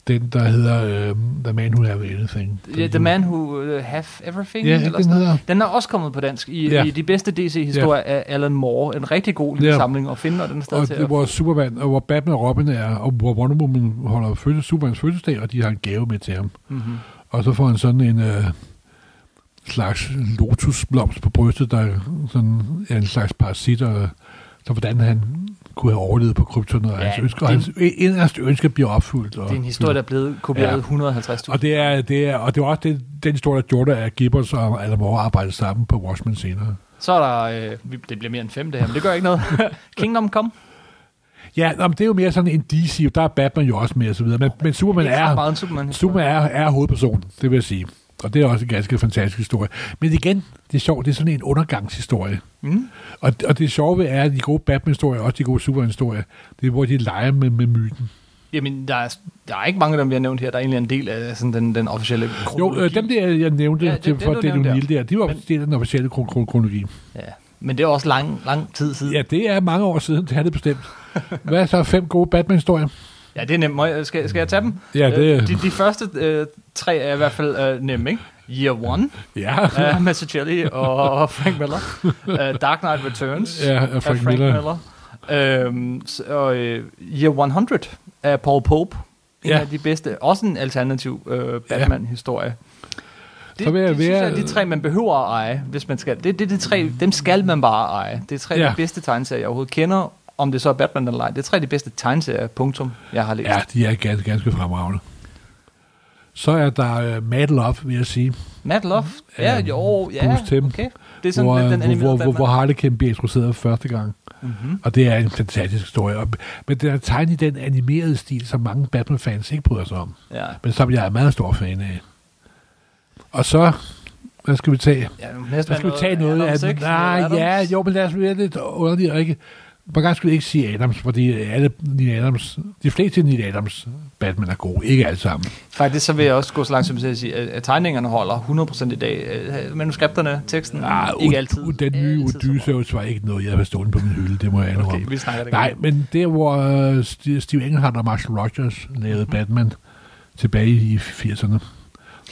Speaker 2: den, der hedder øh, The Man Who Have Anything.
Speaker 1: Yeah, the Man Who uh, Have Everything?
Speaker 2: Ja,
Speaker 1: eller
Speaker 2: den
Speaker 1: sådan noget.
Speaker 2: hedder.
Speaker 1: Den er også kommet på dansk i,
Speaker 2: Ja.
Speaker 1: yeah. i de bedste DC-historier yeah. af Alan Moore. En rigtig god lille
Speaker 2: Ja.
Speaker 1: yeah. samling at finde, og den er stadig
Speaker 2: Og
Speaker 1: til
Speaker 2: det,
Speaker 1: at...
Speaker 2: hvor Superman, og hvor Batman og Robin er, og hvor Wonder Woman holder fødsel, Supermans fødselsdag, og de har en gave med til ham.
Speaker 1: Mm-hmm.
Speaker 2: Og så får han sådan en øh, slags lotusblomst på brystet, der sådan er en slags parasit, og så hvordan han kunne have overlevet på krypton, og ja,
Speaker 1: Ja,
Speaker 2: hans ønske, og
Speaker 1: det-
Speaker 2: hans inderste ønske bliver opfyldt. Og,
Speaker 1: Det er en historie, der er blevet kopieret
Speaker 2: Ja.
Speaker 1: ja. 150.000.
Speaker 2: og det er, det er, og det var også den, den historie, der gjorde, at Gibbons og Alan Moore arbejdede sammen på Watchmen senere.
Speaker 1: Så er der... Øh, vi- det bliver mere end fem, det her, men det gør ikke noget. Kingdom Come.
Speaker 2: Ja, nå, men det er jo mere sådan en DC, der er Batman jo også med og så videre, men, men Superman
Speaker 1: Ikke
Speaker 2: er,
Speaker 1: så meget en Superman.
Speaker 2: Zuma er, er hovedpersonen, det vil jeg sige. Og det er også en ganske fantastisk historie. Men igen, det er sjovt, det er sådan en undergangshistorie.
Speaker 1: Mm.
Speaker 2: Og, og det sjove er, at de gode Batman-historier, og også de gode Superman-historier, det er, hvor de leger med, med myten.
Speaker 1: Jamen, der er, der er ikke mange af dem, vi har nævnt her. Der er egentlig en del af sådan, den, den officielle
Speaker 2: Jo, øh,
Speaker 1: kronologi.
Speaker 2: dem der, jeg nævnte,
Speaker 1: Ja,
Speaker 2: ja,
Speaker 1: det-
Speaker 2: det,
Speaker 1: det,
Speaker 2: for
Speaker 1: du
Speaker 2: det, det,
Speaker 1: nævnte
Speaker 2: du
Speaker 1: der.
Speaker 2: der, de var Men... del af den officielle kron- kron- kronologi.
Speaker 1: Ja. Men det er også lang, lang tid siden.
Speaker 2: Ja, det er mange år siden, det er det bestemt. Hvad er så fem gode Batman-historier?
Speaker 1: Ja, det er nemt. Må jeg, skal, skal jeg tage dem?
Speaker 2: Ja, det-
Speaker 1: Øh, De, de første øh, tre er i hvert fald øh, nemme, ikke? Year One
Speaker 2: Ja,
Speaker 1: af Mazzucchelli og Frank Miller. Uh, Dark Knight Returns
Speaker 2: Ja, af Frank Miller.
Speaker 1: Miller. Øhm, s- og øh, Year 100 af Paul Pope. En
Speaker 2: Ja.
Speaker 1: ja. af de bedste. Også en alternativ øh, Batman-historie. Det,
Speaker 2: Så vil jeg
Speaker 1: det synes
Speaker 2: være-
Speaker 1: jeg er de tre, man behøver at eje, hvis man skal. Det, det, det tre, dem skal man bare eje. Det er tre af
Speaker 2: Ja.
Speaker 1: de bedste tegneserier, jeg overhovedet kender. Om det så er Batman eller ej. Det er tre af de bedste tegneserier, punktum, jeg har læst.
Speaker 2: ja de er ganske, ganske fremragende. Så er der øh, Mad Love, vil jeg sige.
Speaker 1: Mad Love? Ja,
Speaker 2: Øhm,
Speaker 1: jo, ja,
Speaker 2: Bruce Timm,
Speaker 1: okay. Det er sådan
Speaker 2: hvor,
Speaker 1: lidt den animerede Mhm.
Speaker 2: hvor, hvor, hvor, hvor
Speaker 1: Batman.
Speaker 2: Harlequin bliver introduceret første gang. Mm-hmm. Og det er en fantastisk historie. Og- Men den er tegnet i den animerede stil, som mange Batman-fans ikke bryder sig om.
Speaker 1: Ja.
Speaker 2: Men som jeg er meget stor fan af. Og så, hvad skal vi tage?
Speaker 1: Ja, nu må næsten
Speaker 2: Hvad skal vi
Speaker 1: være
Speaker 2: tage noget
Speaker 1: Adams,
Speaker 2: af...
Speaker 1: ikke?
Speaker 2: Nej,
Speaker 1: Adams.
Speaker 2: ja, jo, men lad os være lidt underligt, ikke? På gang skulle vi ikke sige Adams, fordi alle Neil Adams, de fleste Neil Adams Batman er gode, ikke alle sammen.
Speaker 1: Faktisk så vil jeg også gå så langt som til at sige, at at tegningerne holder 100% i dag. Øh, Manuskripterne, teksten,
Speaker 2: Ah,
Speaker 1: ikke altid.
Speaker 2: Den nye
Speaker 1: Altid så meget.
Speaker 2: Odysseus var ikke noget, jeg havde stående på min hylde, det må jeg indrømme.
Speaker 1: Okay, vi snakker det
Speaker 2: Nej,
Speaker 1: igen.
Speaker 2: men det hvor øh, Sti- Steve Englehart og Marshall Rogers lavede
Speaker 1: Mhm.
Speaker 2: Batman tilbage i 80'erne.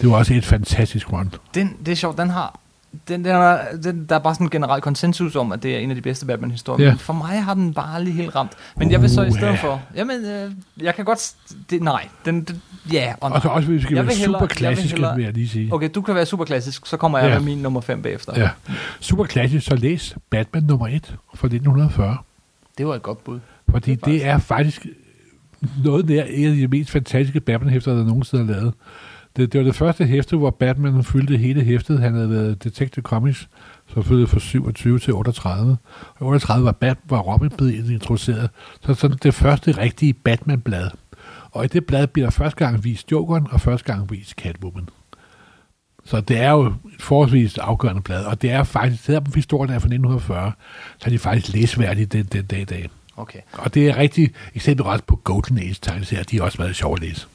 Speaker 2: Det var også et fantastisk run.
Speaker 1: Den, det er sjovt, den har... Den, den, er, den, der er bare sådan en generel konsensus om, at det er en af de bedste Batman-historier.
Speaker 2: Ja.
Speaker 1: Men for mig har den bare lige helt ramt. Men jeg vil så i
Speaker 2: Uha.
Speaker 1: stedet for... Jamen, øh, jeg kan godt... s- Det, nej, den... den ja, og nej.
Speaker 2: Og så også, hvis vi skal
Speaker 1: Jeg
Speaker 2: være
Speaker 1: vil hellere-
Speaker 2: super
Speaker 1: jeg vil
Speaker 2: klassiske, vil,
Speaker 1: hellere-
Speaker 2: jeg lige sige.
Speaker 1: Okay, du kan være super klassisk, så kommer jeg
Speaker 2: Ja.
Speaker 1: med min nummer 5 bagefter.
Speaker 2: Ja. Super klassisk, så læs Batman nummer 1 fra 1940.
Speaker 1: Det var et godt bud.
Speaker 2: Fordi det, det er faktisk noget nær en af de mest fantastiske Batman-hæfter, der nogensinde er lavet. Det, det var det første hæfte, hvor Batman fyldte hele hæftet. Han havde været Detective Comics, som fyldte fra 27 til 38. Og i 38 var, Bat, var Robin blevet introduceret. Så sådan det første rigtige Batman-blad. Og i det blad bliver der første gang vist Jokeren, og første gang vist Catwoman. Så det er jo et forholdsvis afgørende blad, og det er faktisk, selvom historien er fra 1940, så er de faktisk læsværdige den, den dag i dag.
Speaker 1: Okay.
Speaker 2: Og det er rigtigt, eksempel også på Golden Age tegneserier, de er også meget sjove at læse.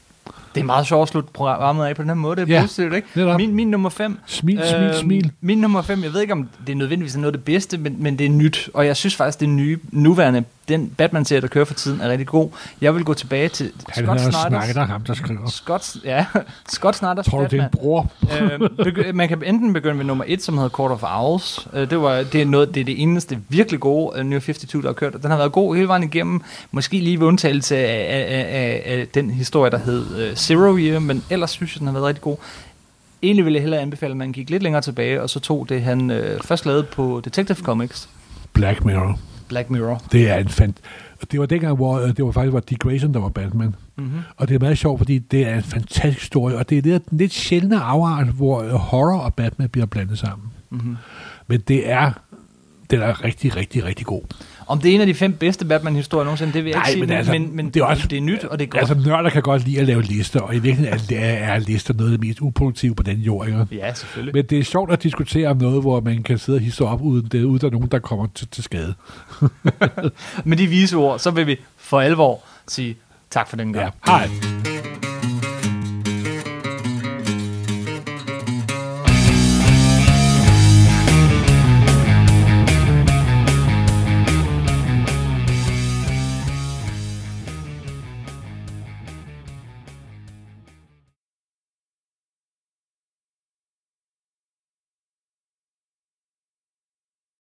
Speaker 1: Det er meget sjovt at slutte programmet af på den her måde. Det er
Speaker 2: Ja,
Speaker 1: ja, positivt, ikke?
Speaker 2: netop.
Speaker 1: Min, min nummer Øhm, 5.
Speaker 2: Smil, smil, smil.
Speaker 1: Min nummer 5, jeg ved ikke, om det er nødvendigvis er noget af det bedste, men, men det er nyt. Og jeg synes faktisk, det nye, nuværende den Batman-serie, der kører for tiden, er rigtig god. Jeg vil gå tilbage til
Speaker 2: Han
Speaker 1: Scott
Speaker 2: hedder
Speaker 1: Snyder's...
Speaker 2: Snyder, ham der skriver.
Speaker 1: Scott, ja, Scott Snyder's
Speaker 2: Tror du, det
Speaker 1: Batman.
Speaker 2: er en bror?
Speaker 1: øh, begy- man kan enten begynde ved nummer et, som hedder Court of Owls. Øh, det, var, det, er noget, det er det eneste virkelig gode uh, New 52, der har kørt. og Den har været god hele vejen igennem. Måske lige ved undtagelse af, af, af, af den historie, der hed uh, Zero Year, men ellers synes jeg, den har været rigtig god. Egentlig ville jeg hellere anbefale, at man gik lidt længere tilbage, og så tog det, han øh, først lavede på Detective Comics,
Speaker 2: Black Mirror.
Speaker 1: Black Mirror.
Speaker 2: Det er en fant... og Det var dengang, hvor øh, det var faktisk var Dick Grayson, der var Batman.
Speaker 1: Mm.
Speaker 2: Mm-hmm. Og det er meget sjovt, fordi det er en fantastisk historie, og det er lidt, lidt sjældne afart, hvor øh, horror og Batman bliver blandet sammen. Mm-hmm. Men det er, den er rigtig, rigtig, rigtig god.
Speaker 1: Om det er en af de fem bedste Batman-historier nogensinde, det vil jeg
Speaker 2: Nej,
Speaker 1: ikke sige,
Speaker 2: men altså,
Speaker 1: men, men,
Speaker 2: det er også-
Speaker 1: det er nyt, og det er godt.
Speaker 2: Altså, nørder kan godt lide at lave lister, og i virkeligheden er, er lister noget af det mest uproduktive på den jord, ikke?
Speaker 1: ja, selvfølgelig.
Speaker 2: Men det er sjovt at diskutere om noget, hvor man kan sidde og hisse op, uden, det, uden der er nogen, der kommer til, til skade.
Speaker 1: Med de vise ord, så vil vi for alvor sige tak for den gang.
Speaker 2: Ja. Hej.